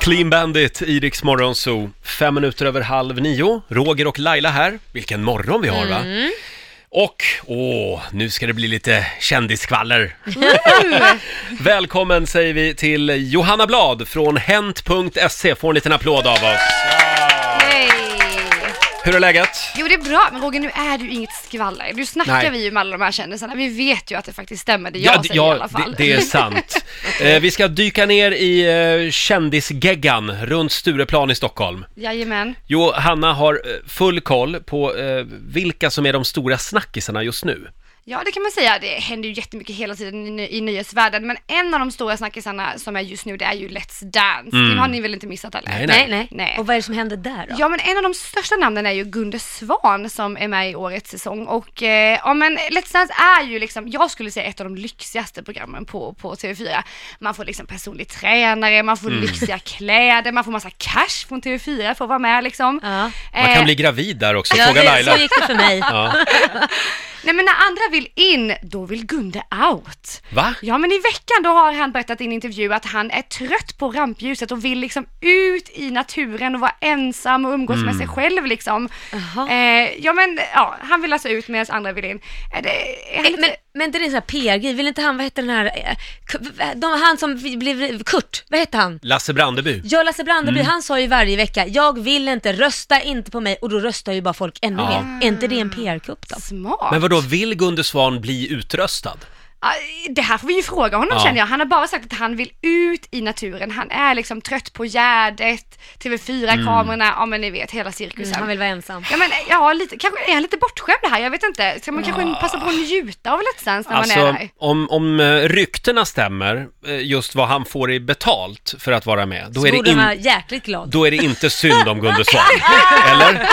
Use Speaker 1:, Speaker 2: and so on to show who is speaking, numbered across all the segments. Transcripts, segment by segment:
Speaker 1: Clean Bandit, i Rix Morgon Zoo. Fem minuter över halv nio. Roger och Laila här. Vilken morgon vi har va?
Speaker 2: Mm.
Speaker 1: Och, åh, nu ska det bli lite kändiskvaller. Välkommen säger vi till Johanna Blad från hent.se. E. Får en liten applåd av oss.
Speaker 2: Nej.
Speaker 1: Hur är läget?
Speaker 2: Jo, det är bra. Men Roger, nu är du inget skvaller. Nu snackar
Speaker 1: Nej.
Speaker 2: vi ju med alla de här kändisarna. Vi vet ju att det faktiskt stämmer, det jag
Speaker 1: d-
Speaker 2: säger i alla fall.
Speaker 1: Det, det är sant. eh, vi ska dyka ner i eh, kändisgeggan runt Stureplan i Stockholm.
Speaker 2: Jajamän.
Speaker 1: Jo, Hanna har eh, full koll på eh, vilka som är de stora snackisarna just nu.
Speaker 2: Ja, det kan man säga. Det händer ju jättemycket hela tiden i, ny- i nyhetsvärlden. Men en av de stora snackisarna som är just nu, det är ju Let's Dance. Det har ni väl inte missat eller?
Speaker 1: Mm. Nej,
Speaker 3: Nej, nej.
Speaker 2: Nej.
Speaker 3: Och vad är det som händer där då?
Speaker 2: Ja men en av de största namnen är ju Gunde Svan som är med i årets säsong och eh, ja men Let's Dance är ju liksom, jag skulle säga ett av de lyxigaste programmen på, på TV4. Man får liksom personlig tränare,
Speaker 1: Mm.
Speaker 2: man får lyxiga kläder, man får massa cash från TV4 för att vara med liksom.
Speaker 3: Ja.
Speaker 1: Man
Speaker 2: Eh,
Speaker 1: kan bli gravid där också,
Speaker 3: Ja,
Speaker 1: fråga
Speaker 3: det-
Speaker 1: Laila.
Speaker 3: Så gick det för mig.
Speaker 1: Ja.
Speaker 2: Nej men när andra vill in, då vill Gunde out.
Speaker 1: Va?
Speaker 2: Ja men i veckan då har han berättat i en intervju att han är trött på rampljuset och vill liksom ut i naturen och vara ensam och umgås
Speaker 1: Mm.
Speaker 2: med sig själv liksom.
Speaker 3: Jaha.
Speaker 2: Eh, ja men ja, han vill alltså ut medan andra vill in. Är det, är han
Speaker 3: Eh,
Speaker 2: lite...
Speaker 3: Men, men det är en sån här PR-grej, vill inte han, vad hette den här, eh, K- de, han som vi- blev, Kurt, vad hette han?
Speaker 1: Lasse Brandeby.
Speaker 3: Jag Lasse Brandeby, han sa ju varje vecka, jag vill inte, rösta inte på mig och då röstar ju bara folk ännu
Speaker 1: Ja.
Speaker 3: mer. Är inte det en PR-kupp då?
Speaker 2: Smart.
Speaker 1: Men vadå, vill Gunde Svan bli utröstad?
Speaker 2: Ja, Det här får vi ju fråga honom
Speaker 1: Ja.
Speaker 2: känner jag. Han har bara sagt att han vill ut i naturen. Han är liksom trött på Gärdet, TV4-kamerorna,
Speaker 1: Mm.
Speaker 2: ja men ni vet hela cirkusen.
Speaker 3: Han vill vara ensam.
Speaker 2: Ja men ja, lite, kanske är han lite bortskämd här, jag vet inte. Ska man kanske passa på att njuta av Let's Dance när man är
Speaker 1: Alltså,
Speaker 2: där?
Speaker 1: om, om eh, ryktena stämmer, eh, just vad han får i betalt för att vara med, då
Speaker 3: Så
Speaker 1: är
Speaker 3: borde
Speaker 1: det,
Speaker 3: han vara
Speaker 1: in,
Speaker 3: jäkligt glad.
Speaker 1: då är det inte synd om Gunde Svan. Eller?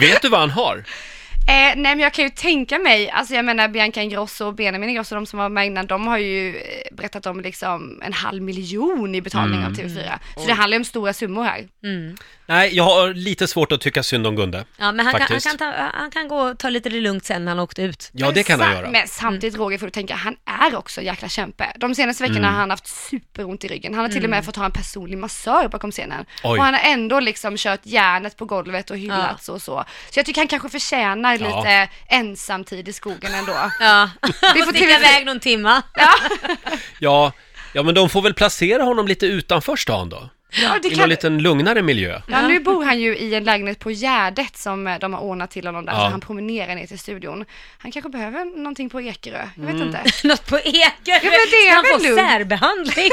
Speaker 1: Vet du vad han har?
Speaker 2: Eh, nej men jag kan ju tänka mig, alltså jag menar Bianca Ingrosso och Benjamin Ingrosso, de som var med innan, de har ju eh, berättat om liksom en halv miljon i betalning
Speaker 1: Mm.
Speaker 2: av TV4. Så det handlar ju om stora summor här.
Speaker 1: Nej, jag har lite svårt att tycka synd om Gunde.
Speaker 3: Ja, men han kan, han,
Speaker 1: faktiskt.
Speaker 3: kan ta, han kan gå och ta lite det lugnt sen när han åkte ut.
Speaker 1: Ja, det kan han
Speaker 2: Sa-
Speaker 1: göra.
Speaker 2: Men samtidigt Roger får du tänka, han är också en jäkla kämpe. De senaste veckorna
Speaker 1: Mm.
Speaker 2: har han haft superont i ryggen. Han har till och med fått ha en personlig massör bakom scenen.
Speaker 1: Oj.
Speaker 2: Och han har ändå liksom kört järnet på golvet och hyllats och så. Så jag tycker han kanske förtjänar
Speaker 1: Ja.
Speaker 2: lite ensamtid i skogen ändå.
Speaker 3: Ja,
Speaker 2: Vi får
Speaker 3: sticka
Speaker 2: till-
Speaker 3: iväg någon timma.
Speaker 1: Ja, ja, men de får väl placera honom lite utanför stan då.
Speaker 2: Ja, det
Speaker 1: I någon liten lugnare miljö.
Speaker 2: Ja, nu bor han ju i en lägenhet på Gärdet som eh, de har ordnat till honom där,
Speaker 1: Ja.
Speaker 2: så han promenerar ner till studion. Han kanske behöver någonting på Ekerö, jag vet inte.
Speaker 3: Något på Ekerö,
Speaker 2: men det är
Speaker 3: så han
Speaker 2: väl
Speaker 3: får
Speaker 2: lugnt.
Speaker 3: särbehandling.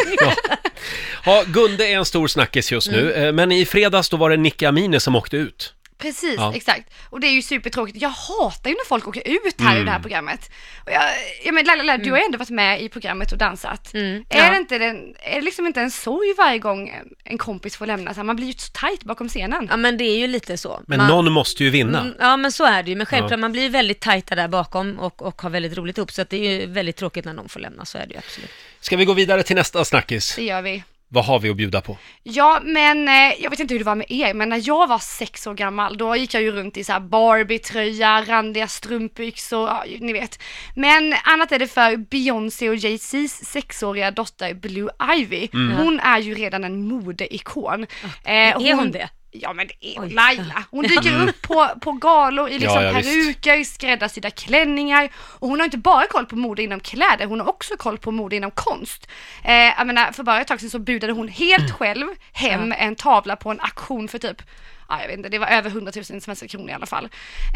Speaker 1: Ja, Gunde är en stor snackis just nu,
Speaker 2: Mm.
Speaker 1: eh, men i fredags då var det Nicky Amine som åkte ut.
Speaker 2: Precis,
Speaker 1: Ja.
Speaker 2: exakt. Och det är ju supertråkigt. Jag hatar ju när folk åker ut här i det här programmet. Och jag, jag men, Laila, Laila, du har ju ändå varit med i programmet och dansat. Är,
Speaker 3: ja.
Speaker 2: det inte den, är det liksom inte en sorg varje gång en kompis får lämna? Så här, man blir ju så tajt bakom scenen.
Speaker 3: Ja, men det är ju lite så.
Speaker 1: Men
Speaker 3: Man-
Speaker 1: någon måste ju vinna.
Speaker 3: Mm, Ja men så är det ju, men självklart
Speaker 1: Ja.
Speaker 3: man blir ju väldigt tajta där bakom och, och har väldigt roligt upp så att det är ju väldigt tråkigt när någon får lämna, så är det ju absolut.
Speaker 1: Ska vi gå vidare till nästa snackis?
Speaker 2: Det gör vi.
Speaker 1: Vad har vi att bjuda på?
Speaker 2: Ja, men eh, jag vet inte hur det var med er, men när jag var sex år gammal, då gick jag ju runt i så här Barbie-tröja, randiga strumpbyxor, ja, ni vet. Men annat är det för Beyoncé och Jay-Z's sexåriga dotter Blue Ivy.
Speaker 1: Mm.
Speaker 2: Hon är ju redan en modeikon. Eh,
Speaker 3: Är hon det?
Speaker 2: Ja men det är hon,
Speaker 3: Oj.
Speaker 2: Laila. Hon dyker upp på, på galor i liksom
Speaker 1: Mm. Ja, ja, visst.
Speaker 2: peruker, skräddarsydda klänningar. Och hon har inte bara koll på mode inom kläder, hon har också koll på mode inom konst. Eh, jag menar, för bara ett tag sedan så budade hon helt själv hem en tavla på en auktion för typ Ja, jag vet inte, det var över 100 000 svenska kronor i alla fall.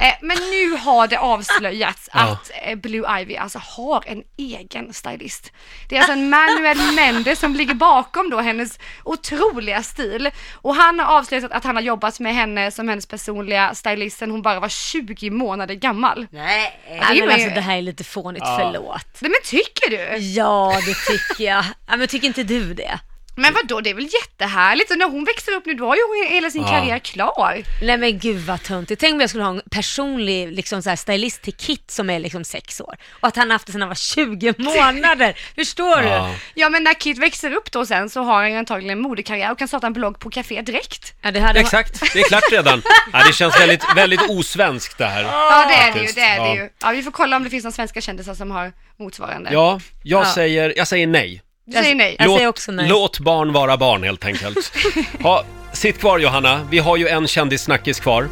Speaker 2: Eh, men nu har det avslöjats
Speaker 1: Ja.
Speaker 2: att eh, Blue Ivy alltså har en egen stylist. Det är alltså en Manuel Mendes som ligger bakom då hennes otroliga stil. Och han har avslöjat att han har jobbat med henne som hennes personliga stylist sedan hon bara var 20 månader gammal.
Speaker 3: Nej,
Speaker 2: det
Speaker 3: men
Speaker 2: var ju-
Speaker 3: alltså det här är lite fånigt, förlåt.
Speaker 2: Nej men tycker du?
Speaker 3: Ja, det tycker jag. Ja, men tycker inte du det?
Speaker 2: Men vadå, det är väl jättehärligt? Och när hon växer upp nu, då har ju hon hela sin
Speaker 1: Ja.
Speaker 2: karriär klar.
Speaker 3: Nej men gud vad töntigt. Tänk om jag skulle ha en personlig liksom, så här, stylist till Kit som är liksom sex år och att han haft det sedan han var 20 månader. Förstår
Speaker 1: Ja.
Speaker 3: du?
Speaker 2: Ja men när Kit växer upp då sen så har han ju antagligen en modekarriär och kan starta en blogg på Café direkt.
Speaker 3: Ja, det hade
Speaker 1: Exakt, det är klart redan. Ja, det känns väldigt, väldigt osvenskt det här.
Speaker 2: Ja det är det ju,
Speaker 1: Faktiskt,
Speaker 2: det är det
Speaker 1: ja.
Speaker 2: ju. Ja vi får kolla om det finns några svenska kändisar som har motsvarande.
Speaker 1: Ja, jag,
Speaker 3: Ja.
Speaker 1: Säger, jag säger nej.
Speaker 2: Du säger nej.
Speaker 3: Jag säger också nej.
Speaker 1: låt barn vara barn helt enkelt. ha, sitt kvar Johanna, vi har ju en kändissnackis kvar.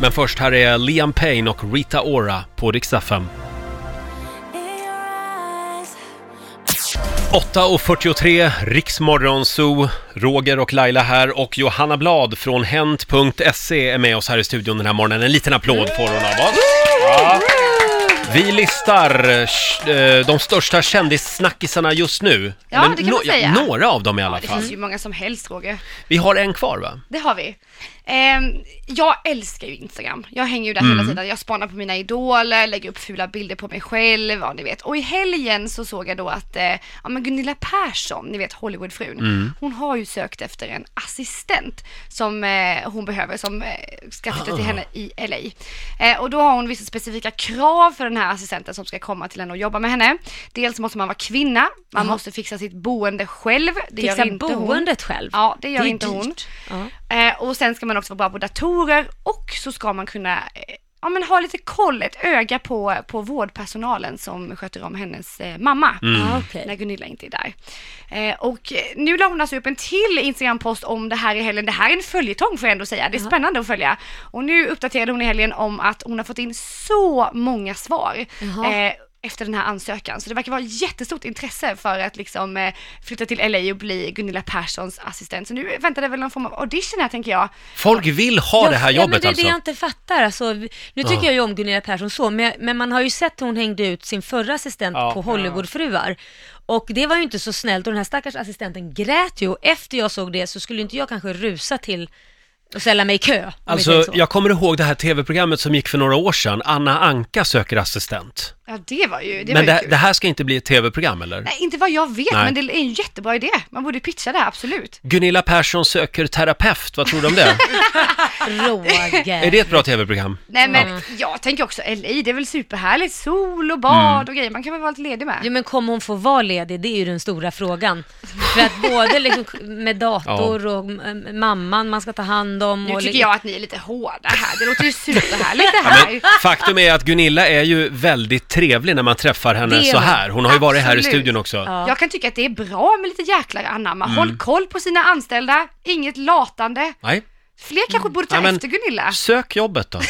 Speaker 1: Men först här är Liam Payne och Rita Ora på riksdag 5. 8.43, Riksmorgonzoo, Roger och Laila här och Johanna Blad från Hent.se E är med oss här i studion den här morgonen. En liten applåd får hon av oss. Ja. Vi listar eh, sh- eh, de största kändissnackisarna just nu.
Speaker 2: Ja, det kan man säga.
Speaker 1: Några av dem i alla
Speaker 2: Det
Speaker 1: fall.
Speaker 2: finns ju många som helst Roger.
Speaker 1: Vi har en kvar va?
Speaker 2: Det har vi. Ehm, jag älskar ju Instagram. Jag hänger ju där hela tiden. Jag spanar på mina idoler, lägger upp fula bilder på mig själv, ja ni vet. Och i helgen så såg jag då att eh, ja, men Gunilla Persson, ni vet Hollywoodfrun, hon har ju sökt efter en assistent som eh, hon behöver, som eh, ska flytta till henne i LA. Eh, och då har hon vissa specifika krav för den här assistenten som ska komma till henne och jobba med henne. Dels måste man vara kvinna, man måste fixa sitt boende själv. Det
Speaker 3: Fixa
Speaker 2: gör inte hon.
Speaker 3: boendet själv.
Speaker 2: Ja, det gör
Speaker 3: är
Speaker 2: inte hon.
Speaker 3: dyrt. Ja.
Speaker 2: Eh, och sen ska man också vara bra på datorer och så ska man kunna eh, ja, men ha lite koll, ett öga på, på vårdpersonalen som sköter om hennes eh, mamma.
Speaker 3: Ja, Mm. Ah, okej.
Speaker 2: När Gunilla inte är där. Eh, och eh, nu la hon alltså upp en till Instagram-post om det här i helgen. Det här är en följetong får jag ändå säga. Det är spännande att följa. Och nu uppdaterade hon i helgen om att hon har fått in så många svar.
Speaker 3: Jaha.
Speaker 2: Eh, efter den här ansökan. Så det verkar vara jättestort intresse för att liksom eh, flytta till LA och bli Gunilla Perssons assistent. Så nu väntar det väl någon form av audition här tänker jag.
Speaker 1: Folk vill ha det här
Speaker 3: ja, men
Speaker 1: jobbet
Speaker 3: det är
Speaker 1: alltså.
Speaker 3: det jag inte fattar. Alltså, vi- nu tycker jag ju om Gunilla Persson så, men, men man har ju sett hur hon hängde ut sin förra assistent
Speaker 1: Ja.
Speaker 3: på Hollywoodfruar. Och det var ju inte så snällt och den här stackars assistenten grät ju och efter jag såg det så skulle inte jag kanske rusa till och ställa mig i kö. om vi säger
Speaker 1: Alltså,
Speaker 3: så.
Speaker 1: jag kommer ihåg det här tv-programmet som gick för några år sedan, Anna Anka söker assistent.
Speaker 2: Ja det var ju,
Speaker 1: men
Speaker 2: det var ju
Speaker 1: det,
Speaker 2: kul.
Speaker 1: det här ska inte bli ett tv-program eller?
Speaker 2: Nej inte vad jag vet
Speaker 1: Nej.
Speaker 2: men det är en jättebra idé. Man borde pitcha det här absolut.
Speaker 1: Gunilla Persson söker terapeut, vad tror du om det? är
Speaker 3: Roger.
Speaker 1: det ett bra tv-program?
Speaker 2: Nej men jag tänker också LA, det är väl superhärligt. Sol och bad
Speaker 1: Mm.
Speaker 2: och grejer. Man kan väl vara lite ledig med.
Speaker 3: Jo, men kommer hon få vara ledig? Det är ju den stora frågan. För att både liksom med dator och eh, mamman man ska ta hand om.
Speaker 2: Nu
Speaker 3: och liksom
Speaker 2: tycker jag att ni är lite hårda här. Det låter ju superhärligt det här.
Speaker 1: Faktum är att Gunilla är ju väldigt trevlig när man träffar henne
Speaker 3: Det är
Speaker 1: så
Speaker 3: hon.
Speaker 1: här. Hon har ju varit här i
Speaker 2: Absolut.
Speaker 1: studion också.
Speaker 3: Ja.
Speaker 2: Jag kan tycka att det är bra med lite jäklar anamma.
Speaker 1: Mm.
Speaker 2: Håll koll på sina anställda, inget latande.
Speaker 1: Nej,
Speaker 2: Fler kanske borde ta
Speaker 1: Mm. Ja, men-
Speaker 2: efter Gunilla.
Speaker 1: sök jobbet då.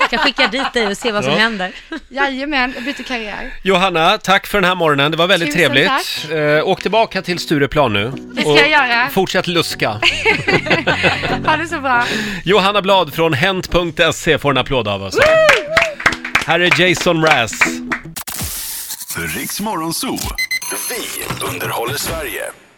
Speaker 3: Jag kan skicka dit dig och se vad som
Speaker 1: Ja.
Speaker 3: händer.
Speaker 2: Jajamän, jag byter karriär.
Speaker 1: Johanna, tack för den här morgonen. Det var väldigt
Speaker 2: Tusen
Speaker 1: trevligt. Eh, åk tillbaka till Stureplan nu.
Speaker 2: Det ska jag göra.
Speaker 1: Fortsätt luska.
Speaker 2: Ha det så bra.
Speaker 1: Johanna Blad från Hent.se E får en applåd av oss. Här är Jason Mraz.
Speaker 4: Riks Morgonzoo. Vi underhåller Sverige.